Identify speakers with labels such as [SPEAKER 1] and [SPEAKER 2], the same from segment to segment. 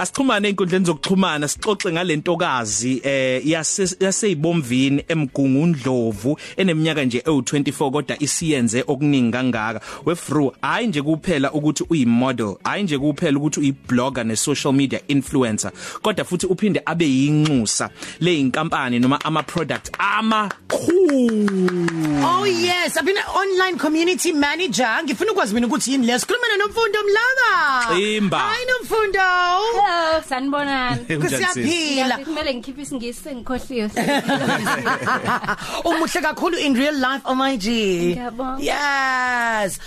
[SPEAKER 1] Asixhumane einkundleni zokuxhumana sixoxe ngalentokazi eh yase- yaseyibomvini emgungundlovu eneminyaka nje ewu24 kodwa isiyenze okuningi kangaka wefru hayi nje kuphela ukuthi uyimodel hayi nje kuphela ukuthi uyiblogger nesocial media influencer kodwa futhi uphinde abe yinxusa leinkampani noma ama product amakhulu
[SPEAKER 2] Oh yes, I've been an online community manager. Ngifuna ukwazi mina ukuthi yini leso. Khulumana nomfundo Mlaka.
[SPEAKER 1] Ximba.
[SPEAKER 2] Hayi nomfundo.
[SPEAKER 3] Hello, sanibonani.
[SPEAKER 2] Kusiyaphila.
[SPEAKER 3] Yazi kumele ngikhiphe isingisi sengikhohliwe.
[SPEAKER 2] Umuhle kakhulu in real life on IG.
[SPEAKER 3] Ngiyabonga.
[SPEAKER 2] Yes.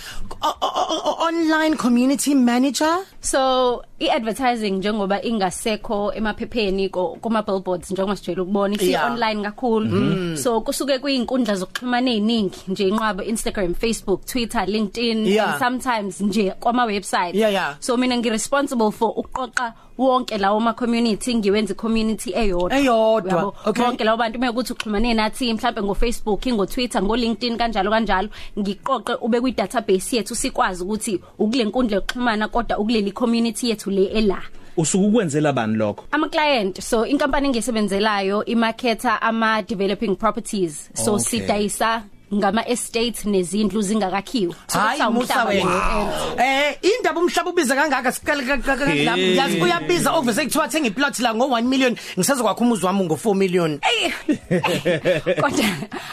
[SPEAKER 2] O- o- o- o- Online community manager.
[SPEAKER 3] So, i-advertising njengoba ingasekho emaphepheni ko- kuma billboards njengoba sijwayele ukubona isi
[SPEAKER 2] Yeah.
[SPEAKER 3] online kakhulu. So, kusuke kuyinkundla zokuxhumana eziningi nje inqwaba Instagram, Facebook, Twitter, LinkedIn
[SPEAKER 2] Yeah.
[SPEAKER 3] and sometimes nje kwama website.
[SPEAKER 2] Yeah, yeah.
[SPEAKER 3] So mina ngi responsible for ukuqoqa wonke lawo ma community ngiwenze community eyodwa.
[SPEAKER 2] Eyodwa,
[SPEAKER 3] Uyabo?
[SPEAKER 2] okay.
[SPEAKER 3] Bonke lawo bantu mekuthi uxhumane nathi mhlawumbe ngo Facebook, ngo Twitter, ngo LinkedIn kanjalo kanjalo ngiqoqe ube kwi database yethu sikwazi ukuthi ukule nkundla yokuxhumana kodwa ukuleli community yethu le ela
[SPEAKER 1] usuku ukwenzela bani lokho
[SPEAKER 3] ama client so inkampani engiyisebenzelayo imarketer ama developing properties so
[SPEAKER 1] Okay.
[SPEAKER 3] sidayisa ngama estates nezindlu zingakakhiwa So,
[SPEAKER 2] Hayi musa
[SPEAKER 3] kuthiwa umhlaba
[SPEAKER 2] wena.
[SPEAKER 3] nje,
[SPEAKER 2] Eh indaba umhlaba ubiza kangaka sikale kangaka
[SPEAKER 1] Hey.
[SPEAKER 2] yazi uyabiza obviously kuthiwa thenga iplot la ngo 1 million ngisazokwakha umuzi wami ngo 4 million.
[SPEAKER 3] kodwa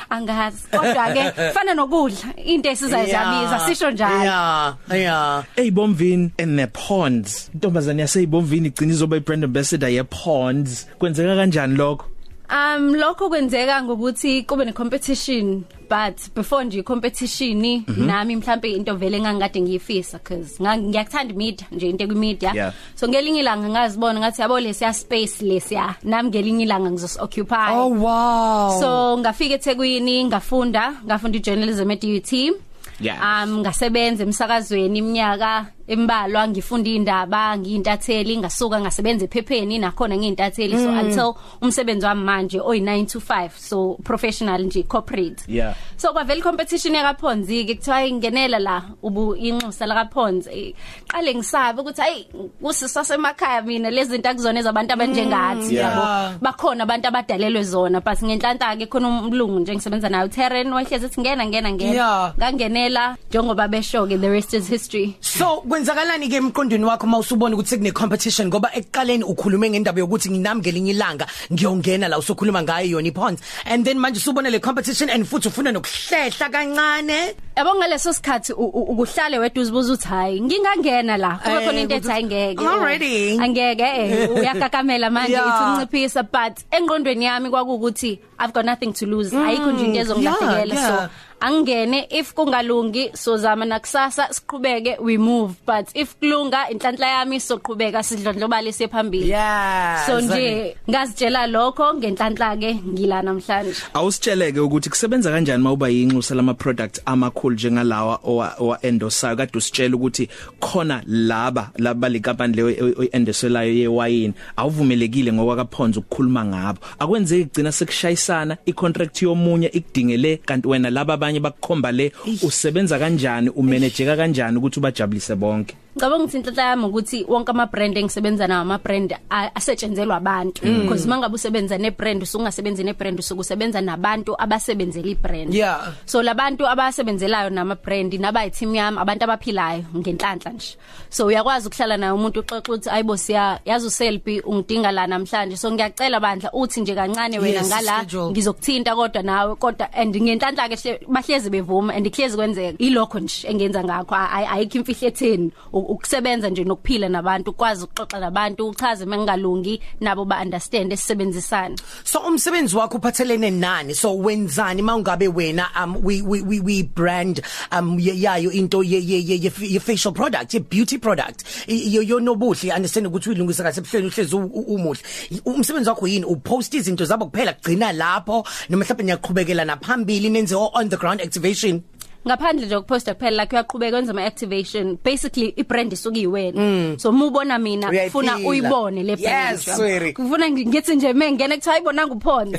[SPEAKER 3] angazi kodwa ke fana nokudla into esizayizabiza sisho njalo
[SPEAKER 2] Yeah. Yeah.
[SPEAKER 1] eyibomvini eneponds intombazane yaseyibomvini igcina izoba ibrand ambassador yeponds kwenzeka kanjani lokho
[SPEAKER 3] Um lokho kwenzeka ngokuthi kube necompetition but before nje competition mm -hmm. nami mhlambe into vele ngangikade ngiyifisa cuz ngiyakuthanda media nje into kwimedia
[SPEAKER 1] Yeah.
[SPEAKER 3] so ngelinye ilanga ngazibona ngathi yabo lesiya space lesiya nami ngelinye ilanga ngizos occupy
[SPEAKER 2] Oh wow.
[SPEAKER 3] so ngafika eThekwini ngafunda ngafunda ijournalism eDUT
[SPEAKER 1] Yes.
[SPEAKER 3] um ngasebenza emsakazweni iminyaka embalwa ngifunda indaba ngiyintatheli ngasuka ngasebenza ephepheni nakhona ngiyintatheli mm. so until umsebenzi wami manje oy 9 to 5 so professional nje corporate
[SPEAKER 1] Yeah.
[SPEAKER 3] so kwavele competition yakaphonzi ke kuthiwa ingenela la ubu inxusa lakaphonzi Eh, qale ngisabe ukuthi hayi kusisasemakhaya mina lezi zinto akuzona ezabantu abanjengathi
[SPEAKER 1] Mm. yeah.
[SPEAKER 3] yabo bakhona abantu abadalelwe zona but ngenhlanta ke khona umlungu nje ngisebenza naye uTerren wahlezi ethi ngena ngena
[SPEAKER 2] Yeah.
[SPEAKER 3] ngena ngangenela njengoba besho ke the rest is history
[SPEAKER 2] So kwenzakalani ke emqondweni wakho mawusubona ukuthi sekune competition ngoba ekuqaleni ukhulume ngendaba yokuthi nginami ngelinye ilanga ngiyongena la usokhuluma ngayo yona iponds and then manje usubona le competition and futhi ufuna nokuhlehla kancane
[SPEAKER 3] Yabo ngaleso sikhathi u- u- ukuhlale wedwa uzibuza uthi hayi ngingangena la kube
[SPEAKER 2] Eh,
[SPEAKER 3] khona into ethi
[SPEAKER 2] ukuthi-
[SPEAKER 3] hayi ngeke
[SPEAKER 2] Already.
[SPEAKER 3] angeke eh, uyagagamela manje
[SPEAKER 2] Yeah.
[SPEAKER 3] ithi unciphisa but engqondweni yami kwakukuthi I've got nothing to lose ayikho nje into ezongilahlekela
[SPEAKER 2] Mm. yeah, yeah.
[SPEAKER 3] so angene if kungalungi sozama nakusasa siqhubeke we move but if kulunga inhlanhla yami soqhubeka sidlondlobale sephambili
[SPEAKER 2] yeah
[SPEAKER 3] so nje ngazitshela lokho ngenhlanhla ke ngila namhlanje
[SPEAKER 1] awusitsheleke ukuthi kusebenza kanjani mawuba yinxusa lama products amakhulu njengalawa owa- owa endosayo kade usitshela ukuthi khona laba laba lekampani leyo e, endoselayo yewine awuvumelekile ngokwa kaphonza ukukhuluma ngabo akwenzeki igcina sekushayisana icontract yomunye ikudingele kanti wena laba abanye bakukhomba le usebenza kanjani umanejeka kanjani ukuthi ubajabulise bonke
[SPEAKER 3] Ngicabanga ukuthi inhlanhla yami ukuthi wonke ama brand engisebenza nawo ama brand a- asetshenzelwa abantu because mangabe usebenza ne brand usungasebenzi ne brand usukusebenza nabantu abasebenzela i brand.
[SPEAKER 2] Yeah.
[SPEAKER 3] So labantu abasebenzelayo nama brand nabayi team yami abantu abaphilayo ngenhlanhla nje. So uyakwazi ukuhlala naye umuntu uxoxa uthi ayibo siya yazi uselfie ungidinga la namhlanje so ngiyacela bandla uthi nje kancane wena
[SPEAKER 2] Yes,
[SPEAKER 3] ngala
[SPEAKER 2] schedule.
[SPEAKER 3] ngizokuthinta kodwa nawe kodwa and ngenhlanhla ke hle- bahlezi bevuma and klezi kwenzeka ilokho nje engenza ngakho Ay- ayikho imfihlo etheni U- ukusebenza nje nokuphila nabantu ukwazi ukuxoxa nabantu uchaze mengalungi nabo ba understand esebenzisana
[SPEAKER 2] so umsebenzi wakho uphathelene nani so wenzani mawungabe wena um we we we, we brand um ye- yayo into ye ye ye ye ye facial product ye beauty product yo yo nobuhle understand ukuthi uyilungisa kahle ebuhleni uhlezi u- u- umuhle umsebenzi wakho yini upost izinto zabo kuphela kugcina lapho noma mhlawumbe niyaqhubekela naphambili nenze o- on the ground activation
[SPEAKER 3] ngaphandle nje ukuposta kuphela like uyaqhubeka wenza ama activation basically ibrand isuke iwena so mubona mina
[SPEAKER 2] Mm. Uyayiphila.
[SPEAKER 3] ufuna uyibone le brand
[SPEAKER 2] Yes, sweetie.
[SPEAKER 3] kufuna ngithi nje mengena kuthiwa ayibona nguphonzi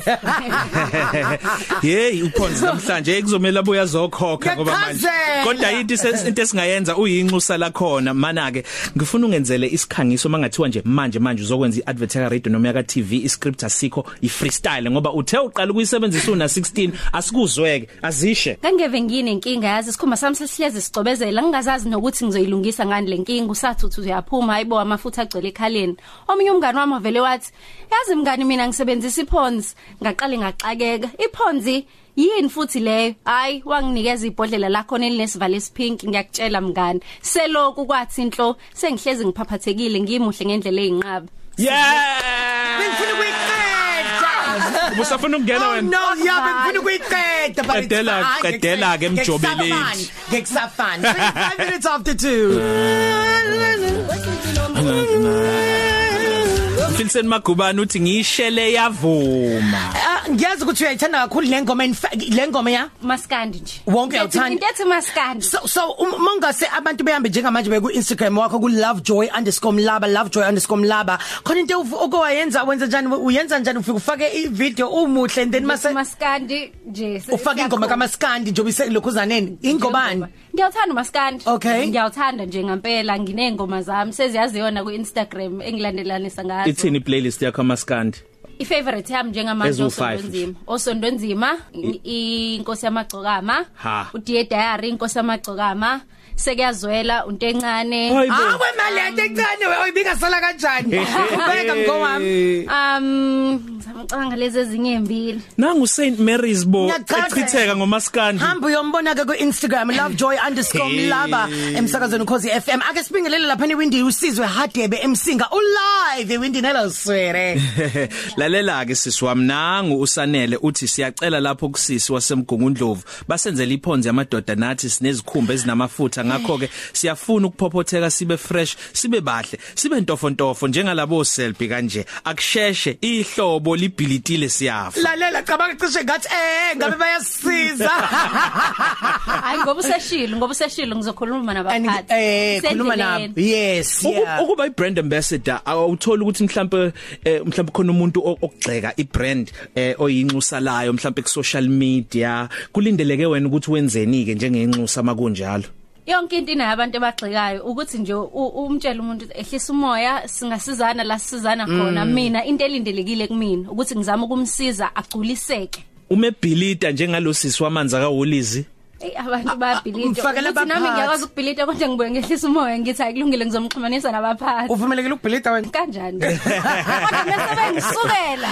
[SPEAKER 1] hey uphonzi namhlanje hey, kuzomela abuya zokhokha ngoba manje
[SPEAKER 2] Ngiyakhathazeka.
[SPEAKER 1] kodwa into ise- into esingayenza uyinxusa la khona mana ke ngifuna ungenzele isikhangiso mangathiwa nje manje manje uzokwenza iadvertising radio noma yaka TV iscript asikho ifreestyle ngoba uthe uqala ukuyisebenzisa una 16 asikuzweke azishe
[SPEAKER 3] Ngangeve nginenkinga yazi isikhumba sami sesihlezi sicobezela ngingazazi nokuthi ngizoyilungisa ngani lenkinga usathuthu uyaphuma hayibo amafutha agcwele ekhaleni omunye umngani wami vele wathi yazi mngani mina ngisebenzisa iphonzi ngaqale ngaxakeka iphonzi yini futhi leyo hayi wanginikeza ibhodlela lakho elinesivalo esipink ngiyakutshela mngani seloku kwathi inhlo sengihlezi ngiphaphathekile ngimuhle ngendlela eyinqaba
[SPEAKER 2] Ngifuna
[SPEAKER 1] yeah
[SPEAKER 2] ukuyiqeda.
[SPEAKER 1] ubusafuna ukungena
[SPEAKER 2] Oh
[SPEAKER 1] wena
[SPEAKER 2] no, yeah, ngifuna ukuyiqeda but it's
[SPEAKER 1] Qedela-
[SPEAKER 2] fine.
[SPEAKER 1] qedela ke emjobeleni.
[SPEAKER 2] Ngekusafani. 5 minutes after 2.
[SPEAKER 1] Mfilsen Magubane uthi ngiyishele yavuma
[SPEAKER 2] Ah, ngiyazi ukuthi uyayithanda kakhulu le ngoma in fact, le ngoma ya
[SPEAKER 3] maskandi nje
[SPEAKER 2] Wonke
[SPEAKER 3] Ngiyathi-
[SPEAKER 2] uyawuthanda?
[SPEAKER 3] into ethi maskandi
[SPEAKER 2] so so um- mongase abantu behambe njengamanje beku Instagram wakho ku lovejoy_mlaba lovejoy_mlaba khona into uv- okowayenza wenza njani uyenza njani ufika ufake i video umuhle and then mase
[SPEAKER 3] maskandi nje se-
[SPEAKER 2] ufake ingoma
[SPEAKER 3] siyaqhubeka.
[SPEAKER 2] kamaskandi njobe iselokhuzaneni ingobani
[SPEAKER 3] Ngiyawuthanda umaskandi.
[SPEAKER 2] Okay.
[SPEAKER 3] Ngiyawuthanda nje ngempela nginengoma zami seziyaziyona ku Instagram engilandelanisa ngazo.
[SPEAKER 1] ithini playlist yakho amaskandi
[SPEAKER 3] I favorite yami njengamanje
[SPEAKER 1] Eziwu-five.
[SPEAKER 3] osondonzima. Osondonzima i- inkosi yamagcokama.
[SPEAKER 1] Ha.
[SPEAKER 3] U Dear Diary inkosi yamagcokama. Sekuyazwela into encane.
[SPEAKER 1] Hayibo.
[SPEAKER 2] awe malete encane we oyibika sala kanjani Ah, ubeka mngowami
[SPEAKER 3] Um ngizamcanga lezi ezinye ezimbili.
[SPEAKER 1] Nangu Saint Mary's bo
[SPEAKER 2] Ngiyaqhatha.
[SPEAKER 1] echitheka ngomaskandi.
[SPEAKER 2] hamba uyombona ke ku-instagram lovejoy_mlaba emsakazweni ukhozi fm ake sibingelele lapha ewindini usizwe hadebe emsinga ulive ewindini eloswere
[SPEAKER 1] Lalela ke sisi wami nangu usanele uthi siyacela lapho kusisi wasemgungundlovu basenzele iphonzi yamadoda nathi sinezikhumba ezinamafutha ngakho ke siyafuna ukuphophotheka sibe fresh sibe bahle sibe ntofontofo njengalabo selfie kanje akusheshe ihlobo libhilitile siyafa
[SPEAKER 2] lalela cabanga cishe ngathi eh ngabe bayasisiza
[SPEAKER 3] Hayi ngoba useshilo ngoba useshilo ngizokhuluma
[SPEAKER 2] And,
[SPEAKER 3] nabaphathi.
[SPEAKER 2] eh khuluma nabo
[SPEAKER 3] Sendleleni.
[SPEAKER 2] yes
[SPEAKER 1] Uku-
[SPEAKER 2] yeah
[SPEAKER 1] ukuba ibrand ambassador awuthola ukuthi mhlawumbe eh, mhlawumbe khona umuntu o- okugxeka ibrand eh, oyinxusa layo mhlawumbe ku social media kulindeleke wena ukuthi wenzeni ke njengenxusa makunjalo
[SPEAKER 3] yonke into inayabantu abagxekayo ukuthi nje u- umtshele umuntu ukuthi ehlisa umoya singasizana la sisizana khona mina into elindelekile kumina ukuthi ngizama ukumsiza agculiseke
[SPEAKER 1] umebhilida njengalo sisi wamanzi akaWolizi
[SPEAKER 3] Ey abantu
[SPEAKER 2] mfakela
[SPEAKER 3] bayabhilida nami
[SPEAKER 2] abaphathi.
[SPEAKER 3] ngiyakwazi ukubhilida kodwa ngibuye ngehlisa umoya ngithi ayilungile ngizomxhumanisa nabaphathi
[SPEAKER 2] uvumelekile ukubhilida wena
[SPEAKER 3] kanjani kodwa mesebengisukela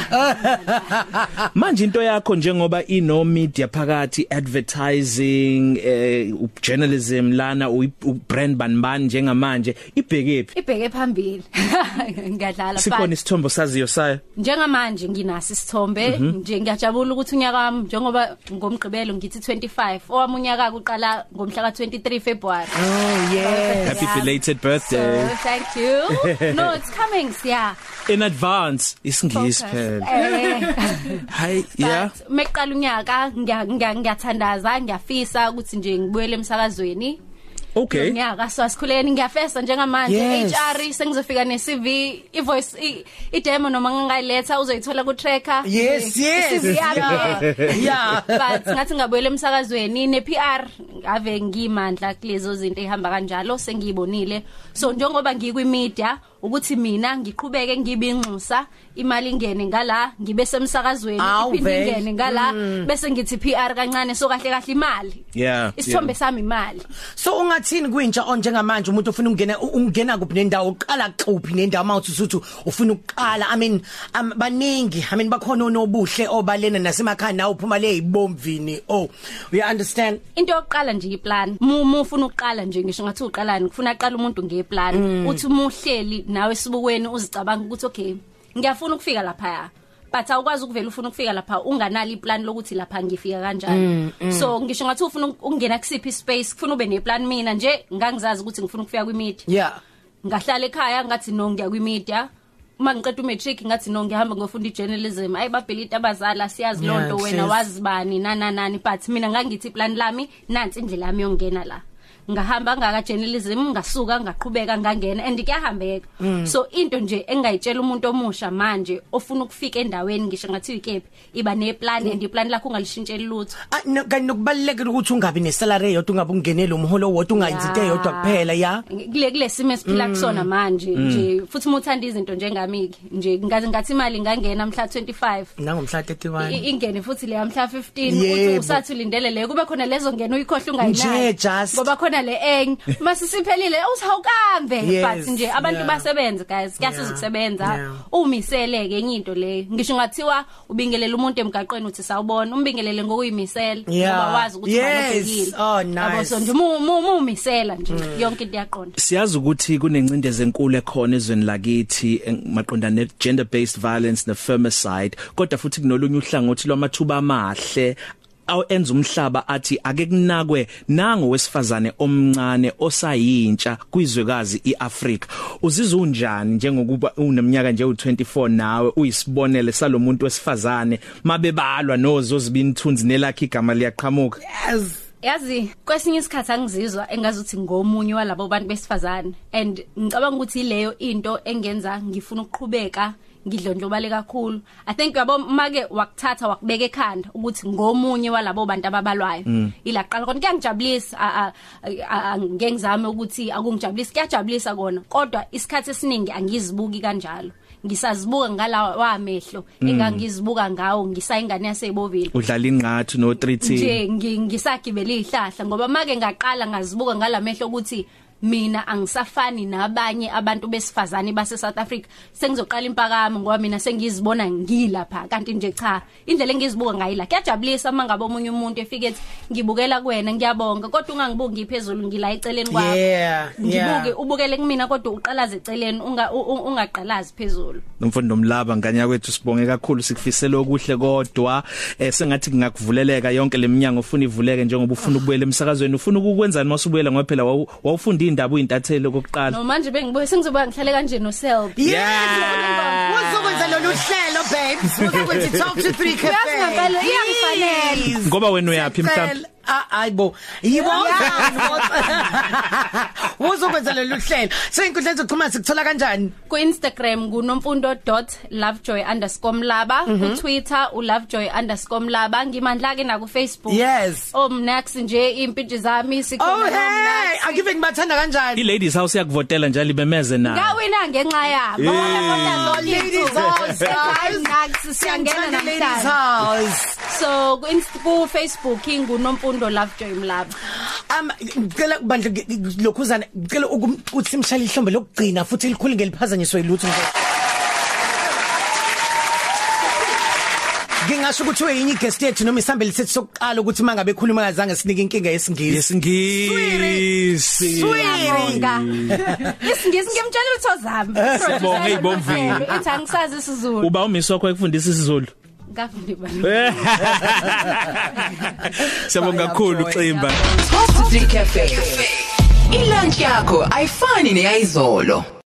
[SPEAKER 1] manje into yakho njengoba ino media phakathi advertising eh, journalism lana uyi- u brand banban njengamanje ibhekephi
[SPEAKER 3] ibheke phambili ngiyadlala
[SPEAKER 1] sikhona
[SPEAKER 3] but
[SPEAKER 1] isithombo saziyo sayo
[SPEAKER 3] njengamanje nginaso isithombe
[SPEAKER 2] Mhm.
[SPEAKER 3] nje ngiyajabula ukuthi unyaka wami njengoba ngomgqibelo ngithi 25 owamunyaka uqala ngomhla ka23 February
[SPEAKER 2] oh yeah
[SPEAKER 1] happy
[SPEAKER 3] Yeah.
[SPEAKER 1] belated
[SPEAKER 3] So
[SPEAKER 2] Eh.
[SPEAKER 1] birthday
[SPEAKER 3] thank you. No, it's coming, yeah.
[SPEAKER 1] in advance isingisi phela
[SPEAKER 3] Eh.
[SPEAKER 1] Hayi yeah.
[SPEAKER 3] Meqala unyaka ngiya- ngiya- ngiyathandaza ngiyafisa ukuthi nje ngibuyele emsakazweni.
[SPEAKER 1] Okay.
[SPEAKER 3] Unyaka so asikhuleni ngiyafesa njengamanje
[SPEAKER 2] Yes.
[SPEAKER 3] HR E, sengizofika ne CV, i voice i i demo noma ngingayiletha uzoyithola ku tracker.
[SPEAKER 2] Yes,
[SPEAKER 3] Nje,
[SPEAKER 2] yes.
[SPEAKER 3] i-CV yami.
[SPEAKER 2] Yeah.
[SPEAKER 3] But ngathi ngabuyele emsakazweni ne PR ave ngimandla kulezo zinto ehamba kanjalo sengiyibonile. So njengoba ngikwi media ukuthi mina ngiqhubeke ngibinxusa imali ingene ngala ngibe semsakazweni
[SPEAKER 2] Awu,
[SPEAKER 3] iphinde
[SPEAKER 2] vele.
[SPEAKER 3] ingene ngala bese ngithi PR kancane so kahle kahle imali.
[SPEAKER 1] Yeah,
[SPEAKER 3] Isithombe
[SPEAKER 1] yeah.
[SPEAKER 3] sami imali.
[SPEAKER 2] so ungathini kwintsha on njengamanje umuntu ufuna ukungena u- ungena kuphi nendawo uqala kuphi nendawo mawuthi usuthi ufuna ukuqala i mean um, baningi i mean bakhona onobuhle obalena nasemakhaya nawe uphuma le ibomvini oh you understand
[SPEAKER 3] into yokuqala nje iplan uma ufuna ukuqala nje ngisho ngathi uqalani kufuna aqala umuntu ngeplan uthi umuhleli nawe sibukweni uzicabanga ukuthi okay ngiyafuna ukufika lapha but awukwazi ukuvela ufuna ukufika lapha unganali iplan lokuthi lapha ngifika kanjani so ngisho ngathi ufuna uk- ukungena kusiphi space kufuna ube neplan mina nje ngangizazi ukuthi ngifuna ukufika kwi media
[SPEAKER 2] yeah
[SPEAKER 3] ngahlala ekhaya ngathi no ngiya kwi media uma ngiqeda umatric ngathi no ngihamba ngiyofunda ijournalism hayi babhelita abazali siyazi loo
[SPEAKER 2] Yeah,
[SPEAKER 3] nto wena
[SPEAKER 2] sis.
[SPEAKER 3] wazi bani nananani but mina ngangithi iplan lami nansi indlela yami yokungena la ngahamba ngaka-journalism ngasuka ngaqhubeka ngangena and kuyahambeka mm. so into nje engingayitshela umuntu omusha manje ofuna ukufika endaweni ngisho ngathiwa ikephi iba neplan mm. and iplani lakho ungalishintsheli lutho
[SPEAKER 2] Ah, no- kanti nokubalulekile ukuthi ungabi nesalary eyodwa ungabi lo umholo wodwa ungayenzi into eyodwa kuphela ya
[SPEAKER 3] kule kule simo
[SPEAKER 2] Mm.
[SPEAKER 3] esiphila kusona manje nje futhi uma uthanda izinto njengami-ke nje ngathi ngathi imali ingangena mhla 25
[SPEAKER 2] nangomhla
[SPEAKER 3] I-
[SPEAKER 2] 31
[SPEAKER 3] ingene futhi leya mhla 15
[SPEAKER 2] Yebo.
[SPEAKER 3] uthi usathi ulindele le kube khona lezo ngena uyikhohle ungayinayo
[SPEAKER 2] Nje, just.
[SPEAKER 3] ngoba khona le enye masisiphelile usawukambe
[SPEAKER 2] Yes,
[SPEAKER 3] but nje abantu
[SPEAKER 2] yeah.
[SPEAKER 3] basebenze guys kuyasiza
[SPEAKER 2] Yeah, yeah.
[SPEAKER 3] ukusebenza umisele-ke enye into le ngisho ngathiwa ubingelele umuntu emgaqweni uthi sawubona umbingelele ngokuyimisela
[SPEAKER 2] Yeah.
[SPEAKER 3] ngoba wazi ukuthi
[SPEAKER 2] Yes.
[SPEAKER 3] ubani
[SPEAKER 2] Oh,
[SPEAKER 3] obhekile.
[SPEAKER 2] nice. Mm.
[SPEAKER 3] Yabo, so nje mu- mu- muwumisela nje yonke into iyaqonda
[SPEAKER 1] siyazi ukuthi kunencindezelo enkulu ekhona ezweni lakithi en- maqondana ne gender based violence ne femicide kodwa futhi kunolunye uhlangothi lwamathuba amahle aw- enza umhlaba athi ake kunakwe nango wesifazane omncane osayintsha kwizwekazi iAfrika uzizwa unjani njengokuba uneminyaka nje u24 nawe uyisibonele salomuntu wesifazane mabebalwa nozo zibinthunzi nelakhe igama liyaqhamuka
[SPEAKER 2] yes
[SPEAKER 3] yazi kwesinye isikhathi angizizwa engazuthi ngomunye walabo bantu besifazane and ngicabanga ukuthi ileyo into engenza ngifuna ukuqhubeka ngidlondlobale kakhulu i think yabo make wakuthatha wakubeka ekhanda ukuthi ngomunye walabo bantu ababalwayo mm. ila qala kodwa kuyangijabulisa a- a- a- a- ngeke ngizame ukuthi akungijabulisi kuyajabulisa kona kodwa isikhathi esiningi angizibuki kanjalo ngisazibuka ngalawa amehlo mm. engangizibuka ngawo ngisayingane yasebovile
[SPEAKER 1] udlala inqathu no 3 team
[SPEAKER 3] nje ngi- ngisagibele ihlahla ngoba make ngaqala ngazibuka ngalamehlo ukuthi mina angisafani nabanye abantu besifazane base South Africa sengizoqala impakamo ngoba mina sengizibona ngilapha kanti nje cha indlela engizibuka ngayo la kuyajabulisa uma ngabe omunye umuntu efike ethi ngibukela kuwena ngiyabonga kodwa ungangibuki ngiphezulu ngila eceleni kwakho
[SPEAKER 2] yeah
[SPEAKER 3] ngibuke
[SPEAKER 2] yeah
[SPEAKER 3] ubukele kumina kodwa uqalaze eceleni unga- u- u- ungaqalazi phezulu
[SPEAKER 1] nomfundo Mlaba nganya kwethu sibonge kakhulu sikufisela okuhle kodwa eh, sengathi ngingakuvuleleka yonke leminyango ufuna ivuleke njengoba ufuna ukubuyela emsakazweni ufuna ukukwenzani masubuyela ngoba phela wawu- wawufunda indaba uyintathelo kokuqala
[SPEAKER 3] nomanje bengibuye sengizoba ngihlale kanje noself
[SPEAKER 2] Yeah. Wozokwenza lolu hlelo babes. Wozokwenza top to 3 cafe.
[SPEAKER 3] Uyazi ngempela, iyangifanela.
[SPEAKER 2] Please.
[SPEAKER 1] Ngoba wena uyaphi mhlawumbe?
[SPEAKER 2] Ngempela, ah, Ayibo. Yibo. Wozokwenza lolu hlelo. Seyinkundla zokuxhumana sikuthola kanjani?
[SPEAKER 3] ku-instagram kunomfundo.lovejoy_mlaba
[SPEAKER 2] Mhm.
[SPEAKER 3] kutwitter ulovejoy_mlaba ngimandla-ke nakufacebook
[SPEAKER 2] Yes.
[SPEAKER 3] omnax nje iy'mpintshi zami
[SPEAKER 2] Oh hey, angive ngibathanda kanjani?
[SPEAKER 1] iladies house yakuvotela njalo ibemeze na
[SPEAKER 3] ngawina ngenxa yabo
[SPEAKER 2] Ladies house.
[SPEAKER 3] siyangena
[SPEAKER 2] Siyangena ladies
[SPEAKER 3] namhlanje
[SPEAKER 2] house.
[SPEAKER 3] so ku-Inst- ku-facebook ingunomfundo lovejoy mlaba
[SPEAKER 2] Um ngicela bandle lokhuzana ngicela ukuthi simshale ihlombe lokugcina futhi likhulu ngeliphazanyiswa ilutho nje. Ngingasho ukuthi uyinye guest yethu noma isambe lisethi sokuqala ukuthi mangabe ekhuluma kazange sinike inkinga yesingisi.
[SPEAKER 1] yesingisi
[SPEAKER 3] ngiyabonga isingisi ngimtshela ulutho zami
[SPEAKER 1] Siyabonga, ey'bomvini.
[SPEAKER 3] ethi angisazi isizulu
[SPEAKER 1] uba umisi wakho ekufundisa isiZulu
[SPEAKER 3] ngafundi bani
[SPEAKER 1] Siyabonga kakhulu Ximba
[SPEAKER 4] Top to 3 Cafe. Ilunch yakho ayifani neyizolo.